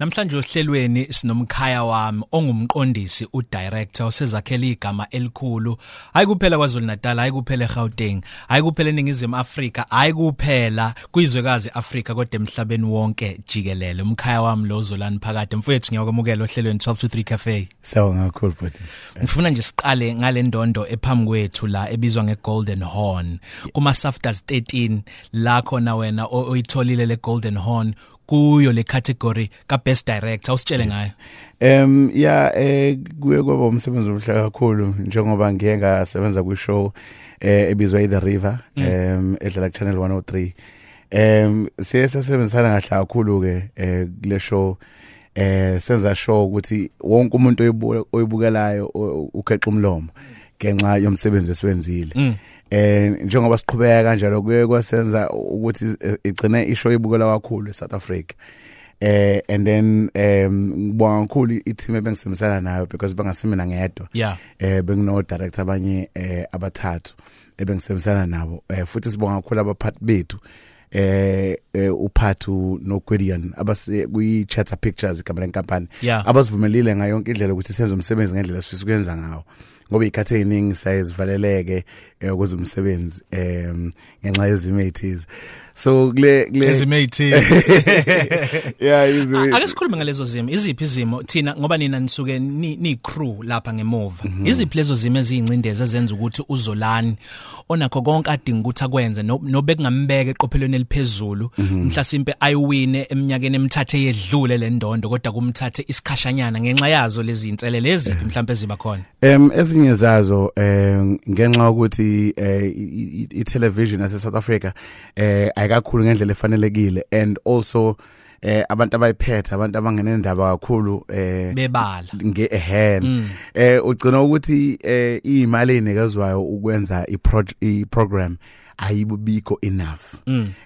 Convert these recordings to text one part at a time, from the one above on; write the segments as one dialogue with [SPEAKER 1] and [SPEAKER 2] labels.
[SPEAKER 1] Namhlanje ohlelweni sinomkhaya wami ongumqondisi udirector osezakhela igama elikhulu hayi kuphela kwaZulu Natal hayi kuphela eGauteng hayi kuphela eningizimu Afrika hayi kuphela kwizwekazi Afrika kodwa emhlabeni wonke jikelele umkhaya wami lozolani phakade mfowethu ngiyakwamukela ohlelweni 12 to 3 cafe
[SPEAKER 2] Sawubona kakhulu bhuti.
[SPEAKER 1] ngifuna nje siqale ngalendondo ephambi kwethu la ebizwa ngeGolden Horn kuma Safters 13 la khona wena o- oyitholile leGolden Horn kuyo le category ka best director usitshele ngayo
[SPEAKER 2] Em ya eh kuye kwaba umsebenzi omhle kakhulu njengoba ngike ngasebenza kwishow eh ebizwa i The River em edlala ku Channel 103. Em siye sasebenzisana kahle kakhulu ke eh kule show eh senza show ukuthi wonke umuntu oyibu- oyibukelayo o- ukeqa umlomo ngenxa yomsebenzi esiwenzile. Eh njengoba siqhubeka kanjalo kuye kwasenza ukuthi eh, igcine ishow ibukelwa kakhulu eSouth Africa. eh and then um ngibonga kakhulu i-team ebengisebenzisana nayo because bangasimina ngedwa
[SPEAKER 1] Yeah.
[SPEAKER 2] eh bengino director abanye eh abathathu ebengisebenzisana nabo eh futhi sibonga kakhulu abaphathi bethu eh eh, uphathu noGwedian abase kuyi Chatter Pictures igama lenkampani
[SPEAKER 1] Yeah.
[SPEAKER 2] abasivumelile ngayo yonke indlela ukuthi senze umsebenzi ngendlela sifisa ukwenza ngawo ngoba ikhathe eziningi sayezivaleleke eh, ukuze umsebenzi em ngenxa yezimo ezithize so kule kule
[SPEAKER 1] izimo ezithile
[SPEAKER 2] yeah izimo
[SPEAKER 1] ake sikhulume Ah, ngalezo zimo iziphi izimo thina ngoba nina nisuke ni, ni crew lapha ngemuva iziphi lezo zimo eziyincindezelo ezenza ukuthi uzolani onakho konke adinga ukuthi akwenze no- nobe kungambeke eqophelweni eliphezulu mhlasimpe ayiwine eminyakeni emthathe yedlule lendondo kodwa kumthathe isikhashanyana ngenxa yazo lezi inselele eziphi mhlawumbe eziba khona
[SPEAKER 2] Em Um, ezinye zazo eh ngenxa ukuthi eh i- i- itelevision yase South Africa eh ayikakhulu ngendlela efanelekile and also eh abantu abayiphethe abantu abangenendaba kakhulu eh
[SPEAKER 1] bebala
[SPEAKER 2] nge hand eh ugcina ukuthi eh imali enikezwayo ukwenza i program ayibubikho enough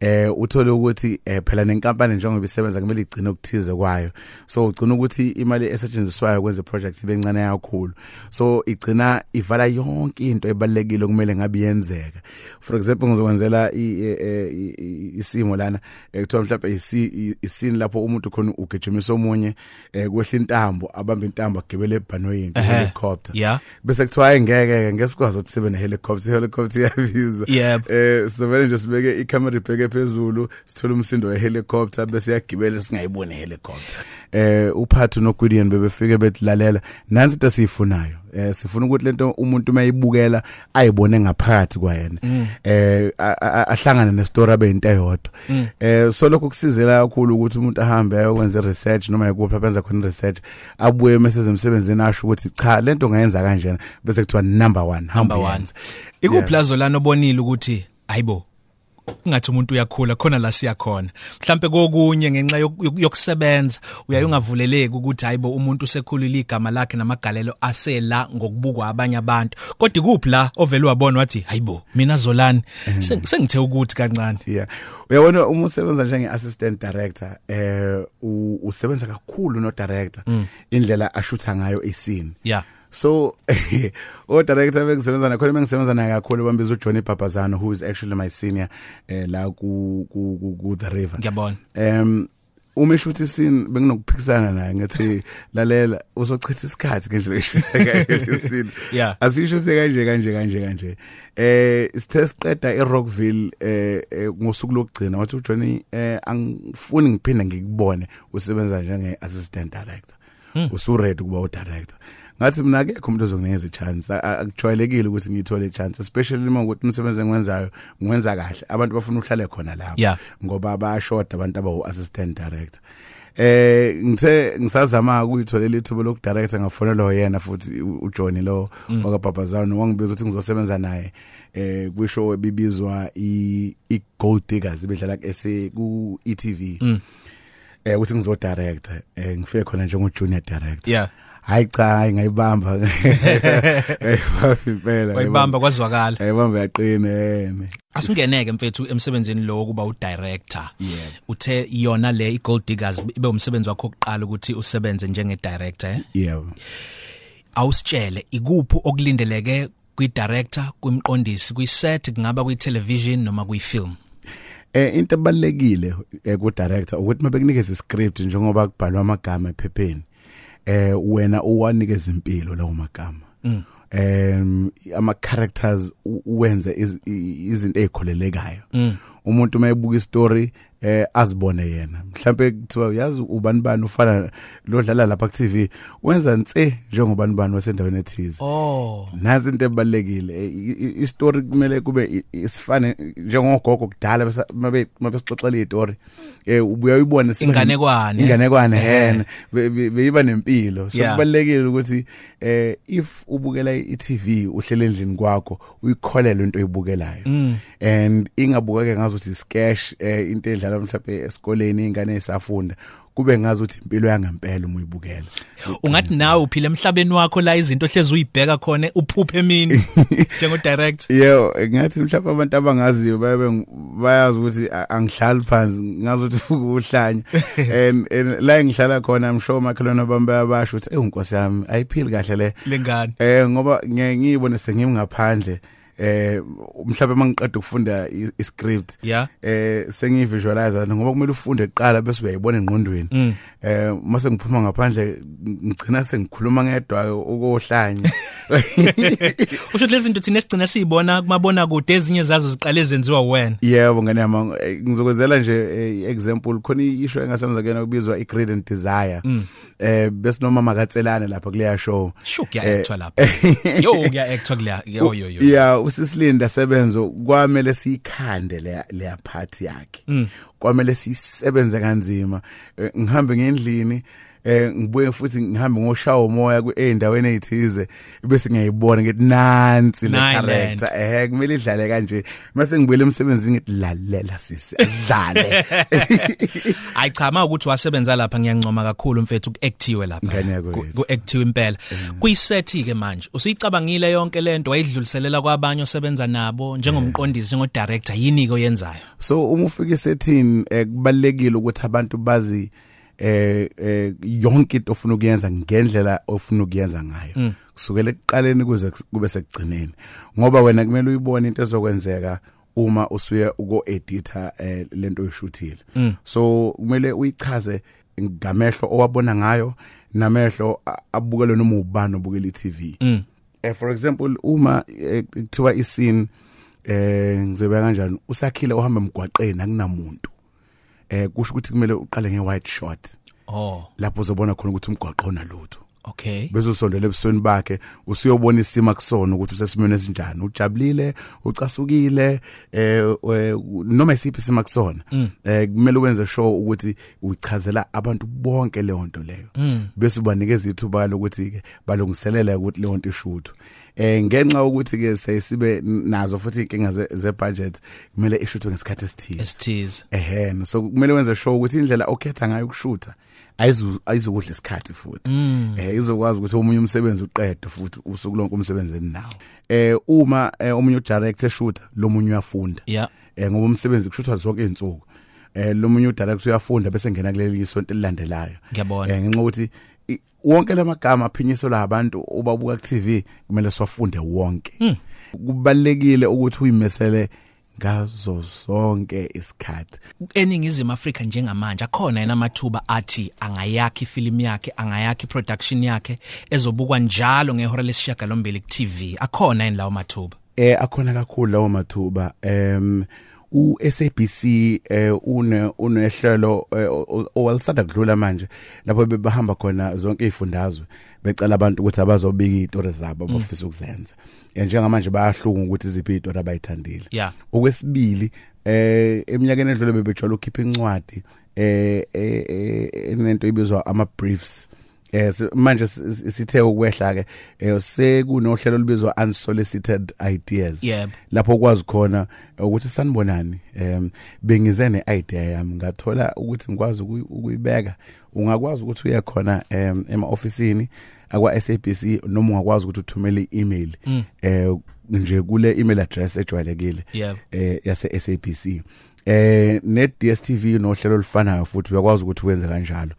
[SPEAKER 2] eh uthole ukuthi eh, phela nenkampani njengoba isebenza kumele igcine ukuthize kwayo so ugcina ukuthi imali esetshenziswayo kwenze projects ibencane kakhulu so igcina ivala yonke into ebalekile kumele ngabe iyenzeka for example ngizokwenzela i- eh, eh, i- i- isimo lana eh, kuthiwa mhlawumbe isi- i- isini lapho umuntu khona ugijimisa omunye eh, kwehla intambo abamba intambo agibele ebhanoyini helicopter
[SPEAKER 1] yeah
[SPEAKER 2] bese kuthiwa hayi ngeke ke ngesikwazi ukuthi sibe nehelicopter ihelicopter iyabiza
[SPEAKER 1] Yebo.
[SPEAKER 2] eh so vele nje sibeke icamera ibheke phezulu sithola umsindo wehelicopter bese iyagibela singayiboni ihelicopter eh uphathu noGuidian bebefike betilalela nansi into esiyifunayo eh sifuna ukuthi lento umuntu mayibukela ayibone ngaphakathi kwayena
[SPEAKER 1] Mm.
[SPEAKER 2] eh a- a- ahlangane nestory abeyinto eyodwa
[SPEAKER 1] Mm.
[SPEAKER 2] eh so lokho kusizela kakhulu ukuthi umuntu ahambe ayokwenza research noma ikuphi abenza khona research abuye emsebenzini asho ukuthi cha lento ngayenza kanjena bese kuthiwa number 1
[SPEAKER 1] number 1 ikuphi lazo lana obonile ukuthi hayibo kungathi umuntu uyakhula khona la siya khona mhlambe kokunye ngenxa yok- yok- yokusebenza uyaye ungavuleleki ukuthi hayibo umuntu usekhulile igama lakhe namagalelo asela ngokubukwa abanye abantu kodwa ikuphi la ovele wabona wathi hayibo mina zolani Seng- sengithe ukuthi kancane
[SPEAKER 2] yeah uyabona uma usebenza njenge assistant director eh u- usebenza kakhulu no director indlela ashutha ngayo isini
[SPEAKER 1] yeah
[SPEAKER 2] so o director bengisebenza naye khona bengisebenza naye kakhulu bambiza uJohnny Babazano who is actually my senior eh la ku ku ku- ku the river
[SPEAKER 1] ngiyabona
[SPEAKER 2] um uma eshuthi sin benginokuphikisana naye ngathi lalela uzochitha isikhathi ngendlela eshuthe ngayo sin
[SPEAKER 1] Yeah.
[SPEAKER 2] asishuthe kanje kanje kanje kanje eh sithe siqeda eRockville eh eh, ngosuku lokugcina wathi uJohnny eh angifuni ngiphinde ngikubone usebenza njenge assistant director
[SPEAKER 1] Hmm.
[SPEAKER 2] usu ready kuba u director ngathi mina akekho umuntu ozonginikeza ichance A- akujwayelekile ukuthi ngiyithole ichance especially uma ukuthi umsebenzi engiwenzayo ngiwenza kahle abantu bafuna uhlale khona lapho
[SPEAKER 1] Yeah.
[SPEAKER 2] ngoba bayashoda abantu abawu assistant director eh ngithe ngisazama ukuyitholela ithuba lokudirector ngafonela yena futhi u- uJohn lo wakabhabhazana wangibiza ukuthi ngizosebenza naye eh kwisho ebibizwa i i Gold Diggers ibidlala ku SA ku ETV eh ukuthi ngizodirector eh ngifike khona njengo junior director
[SPEAKER 1] Yeah.
[SPEAKER 2] hayi cha hayi ngayibamba ngayibamba impela
[SPEAKER 1] wayibamba kwazwakala
[SPEAKER 2] ngayibamba yaqina yena
[SPEAKER 1] asingeneke mfethu emsebenzini lo kuba udirector
[SPEAKER 2] Yeah.
[SPEAKER 1] uthe yona le iGold Diggers ibe umsebenzi wakho oqala ukuthi usebenze njenge director eh?
[SPEAKER 2] yebo
[SPEAKER 1] awusitshele ikuphi okulindeleke kwi director kwimqondisi kwi set kungaba kwi television noma kwi film
[SPEAKER 2] eh into ebalekile ku director ukuthi mabekunikeza iscript njengoba kubhalwa amagama ephepheni eh wena uwanikeza impilo lawo magama um ama characters u- wenze iz- i- izinto ezikholelekayo umuntu mayebuka istory eh azibone yena mhlawumbe kuthiwa uyazi ubani bani ufana lo dlala lapha ku TV wenza nse njengobani bani wasendaweni ethize
[SPEAKER 1] Oh.
[SPEAKER 2] nazi into ebalekile istory kumele kube i- isifane njengogogo kudala bese- mabe mabesixoxela istory eh ubuya uyibone sibe-
[SPEAKER 1] Inganekwane.
[SPEAKER 2] inganekwane hen beyiba nempilo so
[SPEAKER 1] Yeah.
[SPEAKER 2] kubalekile ukuthi eh if ubukela iTV uhlele endlini kwakho uyikholelwe into
[SPEAKER 1] Mm.
[SPEAKER 2] oyibukelayo and ingabukeke ngazo ukuthi sketch eh, into edlala mhlawumbe esikoleni ingane esafunda kube ngazo ukuthi impilo yangempela uma uyibukela
[SPEAKER 1] Ungathi nawe uphile emhlabeni wakho la izinto ohlezi uyibheka khona uphuphe emini njengo director.
[SPEAKER 2] yebo ngathi mhlawumbe abantu abangaziyo bayabe ng- bayazi ukuthi a- angihlali phansi ngazi ukuthi ukuhlanya and and la engihlala khona i'm sure makhelwane bami bayabasho ukuthi ewu nkosi yami ayiphili kahle le
[SPEAKER 1] Lengane.
[SPEAKER 2] eh ngoba ngiye ngiyibone sengimngaphandle eh mhlawumbe mangiqeda ukufunda i- i-script
[SPEAKER 1] Yeah.
[SPEAKER 2] eh sengivisualize ngoba kumele ufunde kuqala bese uyayibona engqondweni eh mase ngiphuma ngaphandle ngigcina sengikhuluma ngedwa ukohlanya
[SPEAKER 1] Usho lezi zinto thina sigcina siyibona kumabona kude ezinye zazo ziqale zenziwa wena.
[SPEAKER 2] yebo ngane yami eh, ngizokwenzela nje eh, i-example khona isho engasemza kuyena kubizwa i-greed and desire
[SPEAKER 1] Mm.
[SPEAKER 2] eh bese noma makatselane lapha kuleya show
[SPEAKER 1] Shu kuyactwa lapha. Yo kuyactwa kuya. Yo yo yo.
[SPEAKER 2] yeah usisilinda sebenzo kwamele siyikhande le leya part
[SPEAKER 1] Mm.
[SPEAKER 2] yakhe kwamele sisebenze kanzima Eh, ngihambe ngendlini eh ngibuye futhi ngihambe ngoshawa umoya ku endaweni ezithize bese ngiyayibona ngithi nansi le
[SPEAKER 1] Nine
[SPEAKER 2] character Cha, ehe kumele idlale kanje mase ngibuyele emsebenzini ngithi lalela sisi asidlale
[SPEAKER 1] Hayi cha uma ukuthi wasebenza lapha ngiyancoma kakhulu mfethu ku-actiwe
[SPEAKER 2] Ngane
[SPEAKER 1] lapha.
[SPEAKER 2] yakho yes.
[SPEAKER 1] Ku-actiwe impela. Kuyisethi ke manje. Usuyicabangile yonke lento wayidluliselela kwabanye osebenza nabo njengomqondisi njengo director yini ke oyenzayo?
[SPEAKER 2] so uma ufika esethini eh, kubalekile ukuthi abantu bazi eh eh, yonke into ofuna ukuyenza ngendlela ofuna ukuyenza ngayo kusukela ekuqaleni kuze kus- kube sekugcineni ngoba wena kumele uyibone into ezokwenzeka uma usuye uko editor eh, lento oyishuthile so kumele uyichaze ngamehlo owabona ngayo namehlo a- abukele noma ubani obukela iTV mm. eh, for example uma eh, kuthiwa iscene eh ngizobe kanjani usakhile uhamba emgwaqeni akunamuntu eh kusho ukuthi kumele uqale nge-white shot
[SPEAKER 1] Oh,
[SPEAKER 2] lapho uzobona khona ukuthi umgwaqo unalutho
[SPEAKER 1] okay.
[SPEAKER 2] bese usondela ebusweni bakhe usiyobona isima kusona ukuthi usesimweni esinjani ujabulile ucasukile eh eh, noma isiphi isima kusona eh kumele wenze sure ukuthi uchazela abantu bonke leyo nto leyo bese ubanikeza ithuba lokuthi ke balungiselele ukuthi leyo nto ishuthu eh ngenxa ukuthi ke sesibe nazo futhi inkinga ze- ze budget kumele ishuthwe ngesikhathi esithile
[SPEAKER 1] Esithize.
[SPEAKER 2] ehe so kumele wenze sure ukuthi indlela okhetha ngayo ukushutha ayizu- ayizokudla isikhathi futhi eh izokwazi ukuthi omunye umsebenzi uqede futhi usuku lonke umsebenzeni nawo eh uma eh, omunye udirector shooter lo munye uyafunda
[SPEAKER 1] Yeah.
[SPEAKER 2] eh ngoba umsebenzi kushuthwa zonke izinsuku eh lo munye udirector uyafunda bese ngena kuleli sonto elilandelayo
[SPEAKER 1] Ngiyabona.
[SPEAKER 2] eh ngenxa ukuthi i- wonke lamagama aphinyiso labantu obabuka ku TV kumele siwafunde wonke kubalekile ukuthi uyimesele ngazo sonke isikhathi
[SPEAKER 1] eningizimu Afrika njengamanje akhona yena amathuba athi angayakhi ifilimu yakhe angayakhi production yakhe ezobukwa njalo ngehora lesishiyagalombili ku TV akhona yini lawo mathuba
[SPEAKER 2] eh akhona kakhulu lawo mathuba em u SABC eh une unehlelo eh, o- owalisanda kudlula manje lapho bebahamba khona zonke izifundazwe becela abantu ukuthi abazobika izitori zabo abafisa ukuzenza Eh, njengamanje bayahlunga ukuthi iziphi izitori abayithandile
[SPEAKER 1] Yeah.
[SPEAKER 2] okwesibili eh eminyakeni edlule bebejwayele ukukhipha incwadi eh eh, eh enento ibizwa ama briefs eh si- manje si- si- sithe ukwehla ke eh sekunohlelo olubizwa unsolicited ideas
[SPEAKER 1] Yebo.
[SPEAKER 2] lapho kwazi khona ukuthi sanibonani em bengize ne idea yami ngathola ukuthi ngikwazi ukuyi- ukuyibeka ungakwazi ukuthi uye khona em ema officeini akwa SABC noma ungakwazi ukuthi uthumele i-email eh nje kule email address ejwayelekile
[SPEAKER 1] Yebo.
[SPEAKER 2] eh yase SABC eh ne DStv nohlelo olufanayo futhi uyakwazi ukuthi wenze kanjalo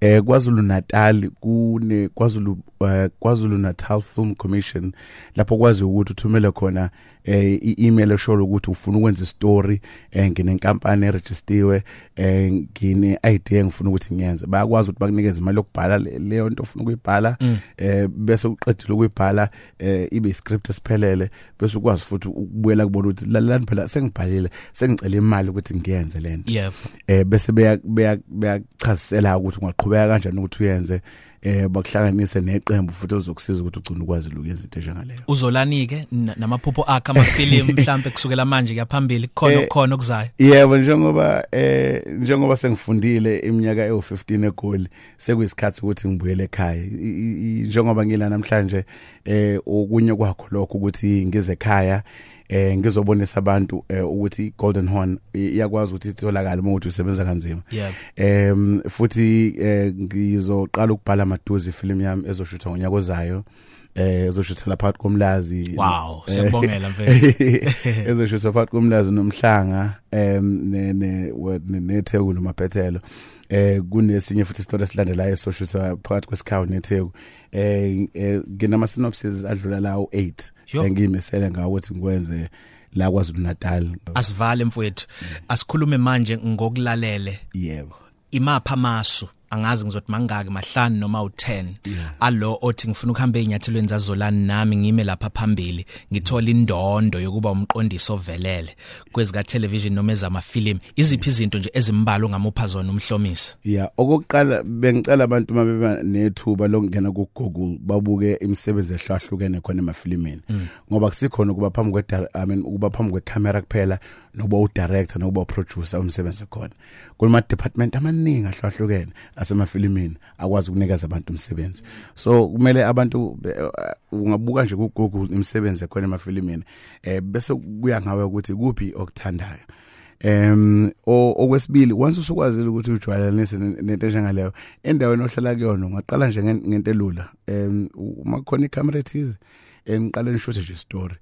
[SPEAKER 2] eh kwaZulu Natal kune kwaZulu eh, kwaZulu Natal Film Commission lapho kwazi ukuthi uthumele khona eh i-email eshola ukuthi ufuna ukwenza istory eh nginenkampani eregistiwe eh ngine idea engifuna ukuthi ngiyenze bayakwazi ukuthi bakunikeze imali yokubhala le- leyo nto ofuna ukuyibhala eh bese uqedile ukuyibhala eh ibe iscript esiphelele bese ukwazi futhi ukubuyela kubona ukuthi lalani phela sengibhalile sengicela imali ukuthi ngiyenze lento
[SPEAKER 1] yebo
[SPEAKER 2] eh bese beya beya beyachazisela ukuthi ungaqhubeka kanjani ukuthi uyenze eh bakuhlanganise neqembu futhi ozokusiza ukuthi ugcine ukwazi ukwenza into njengaleyo
[SPEAKER 1] uzolani ke na- namaphupho akhe amafilimu mhlambe kusukela manje kuyaphambili khona
[SPEAKER 2] Eh,
[SPEAKER 1] khona okuzayo
[SPEAKER 2] Yebo njengoba eh njengoba sengifundile iminyaka ewu15 egoli sekuyisikhathi ukuthi ngibuyele ekhaya I- i- njengoba ngila namhlanje eh okunye kwakho lokho ukuthi ngize ekhaya eh ngizobonisa abantu eh, ukuthi Golden Horn i- iyakwazi ukuthi itholakale uma ukuthi usebenza kanzima
[SPEAKER 1] yebo
[SPEAKER 2] Em futhi eh, ngizoqala ukubhala amaduze ifilm yami ezoshuthwa ngonyaka ozayo. Eh ezoshuthela phakathi komlazi.
[SPEAKER 1] wow
[SPEAKER 2] Eh,
[SPEAKER 1] siyabongela mfethu
[SPEAKER 2] ezoshuthwa phakathi komlazi nomhlanga em ne ne what- ne- netheku nomaphethelo. Eh kunesinye futhi isitori esilandelayo esoshuthwa phakathi kwesikhawu netheku. Eh eh, nginama synopses adlula lawo 8
[SPEAKER 1] Yo.
[SPEAKER 2] engimisele ngawo ukuthi ngikwenze la kwaZulu Natal.
[SPEAKER 1] asivale mfethu asikhulume manje ngokulalele
[SPEAKER 2] Yebo.
[SPEAKER 1] imapha masu angazi ngizothi mangaki mahlanu noma u10 alo othi ngifuna ukuhamba einyathelweni zazolani nami ngime lapha phambili ngithola indondo yokuba umqondiso ovelele kwezika television noma ezamafilimu iziphi izinto nje ezimbalwa ngamupha zona umhlomisi
[SPEAKER 2] Yeah, okokuqala bengicela abantu mabeba nethuba lokungena ku Google babuke imisebenzi ehlahlukene khona emafilimini. Ngoba kusikhona ukuba phambi kwe dir- I mean ukuba phambi kwe camera kuphela nokuba u director nokuba u producer umsebenzi khona. Kulama department amaningi ahlahlukene asemafilimini akwazi ukunikeza abantu umsebenzi. So kumele abantu be- eh, ungabuka nje ku Google imisebenzi ekhona emafilimini eh bese kuya ngawe ukuthi kuphi okuthandayo. Em o- okwesibili once usukwazile ukuthi ujwayelanise ne- nento enjengaleyo endaweni ohlala kuyona ungaqala nje ngen- ngento elula em u- uma khona icamera ethize engiqale nishuthe nje story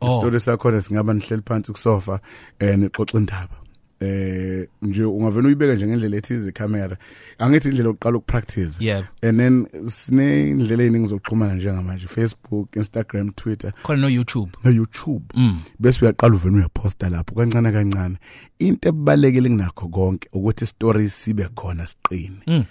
[SPEAKER 1] Oh.
[SPEAKER 2] isitori sakhona singaba nihleli phansi kusofa eh nixoxa indaba eh nje ungavena uyibeka nje ngendlela ethize icamera angithi indlela oqala ukupractice
[SPEAKER 1] yebo
[SPEAKER 2] and then sine indlela eningizoxhumana njengamanje Facebook Instagram Twitter
[SPEAKER 1] khona no YouTube
[SPEAKER 2] no YouTube
[SPEAKER 1] mm
[SPEAKER 2] bese uyaqala uvena uyaposta lapho kancane kancane into ebalekile kunakho konke ukuthi story sibe khona siqine
[SPEAKER 1] Mm.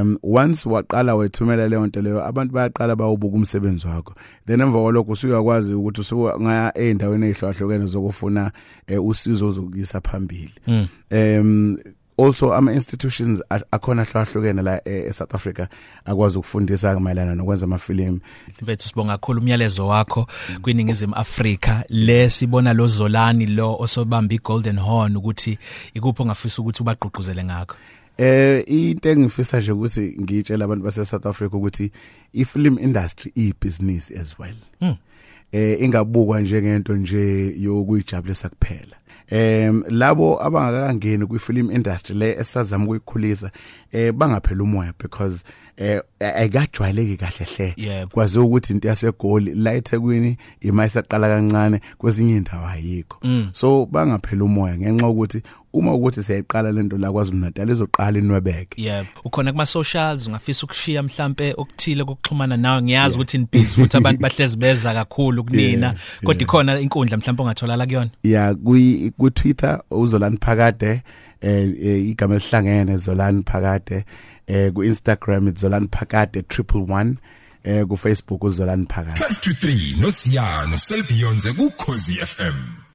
[SPEAKER 2] um once waqala wethumela leyo nto leyo abantu bayaqala bawubuka umsebenzi wakho then emva kwalokho usuyakwazi ukuthi usungaya endaweni ezihlukahlukene zokufuna eh, usizo ozokuyisa phambili
[SPEAKER 1] Mm.
[SPEAKER 2] um also ama institutions a- akhona ahlukahlukene la e e- South Africa akwazi ukufundisa mayelana nokwenza amafilimu
[SPEAKER 1] mfethu sibonga kakhulu umyalezo wakho kwiningizimu Afrika lesibona lo Zolani lo osobamba iGolden Horn ukuthi ikupho ngafisa ukuthi ubagqugquzele ngakho
[SPEAKER 2] Eh into engifisa nje ukuthi ngitshele abantu base South Africa ukuthi ifilm industry ibusiness as well.
[SPEAKER 1] Mm.
[SPEAKER 2] Eh ingabukwa njengento nje yokuyijabulisa kuphela. Em labo abangakangeni kwifilm industry le esazama ukuyikhulisa eh bangaphela umoya because eh ayikajwayeleki kahle hle.
[SPEAKER 1] Yebo.
[SPEAKER 2] Kwaziwa ukuthi into yasegoli la eThekwini imayisa qala kancane kwezinye indawo ayikho. So bangaphela umoya ngenxa ukuthi uma ukuthi siyayiqala lento la kwaZulu Natal izoqala inwebeke
[SPEAKER 1] yebo ukhona kuma socials ungafisa ukushiya mhlambe okuthile kokuxhumana nawe ngiyazi ukuthi in busy futhi abantu bahlezi beza kakhulu kunina kodwa ikhona inkundla mhlambe ongathola la kuyona
[SPEAKER 2] ya kwi ku Twitter uzolani phakade eh eh, igama elihlangene zolani phakade eh ku Instagram izolani phakade 111 eh ku Facebook uzolani phakade
[SPEAKER 3] 12 to 3 nosiyano selbionze kukhozi fm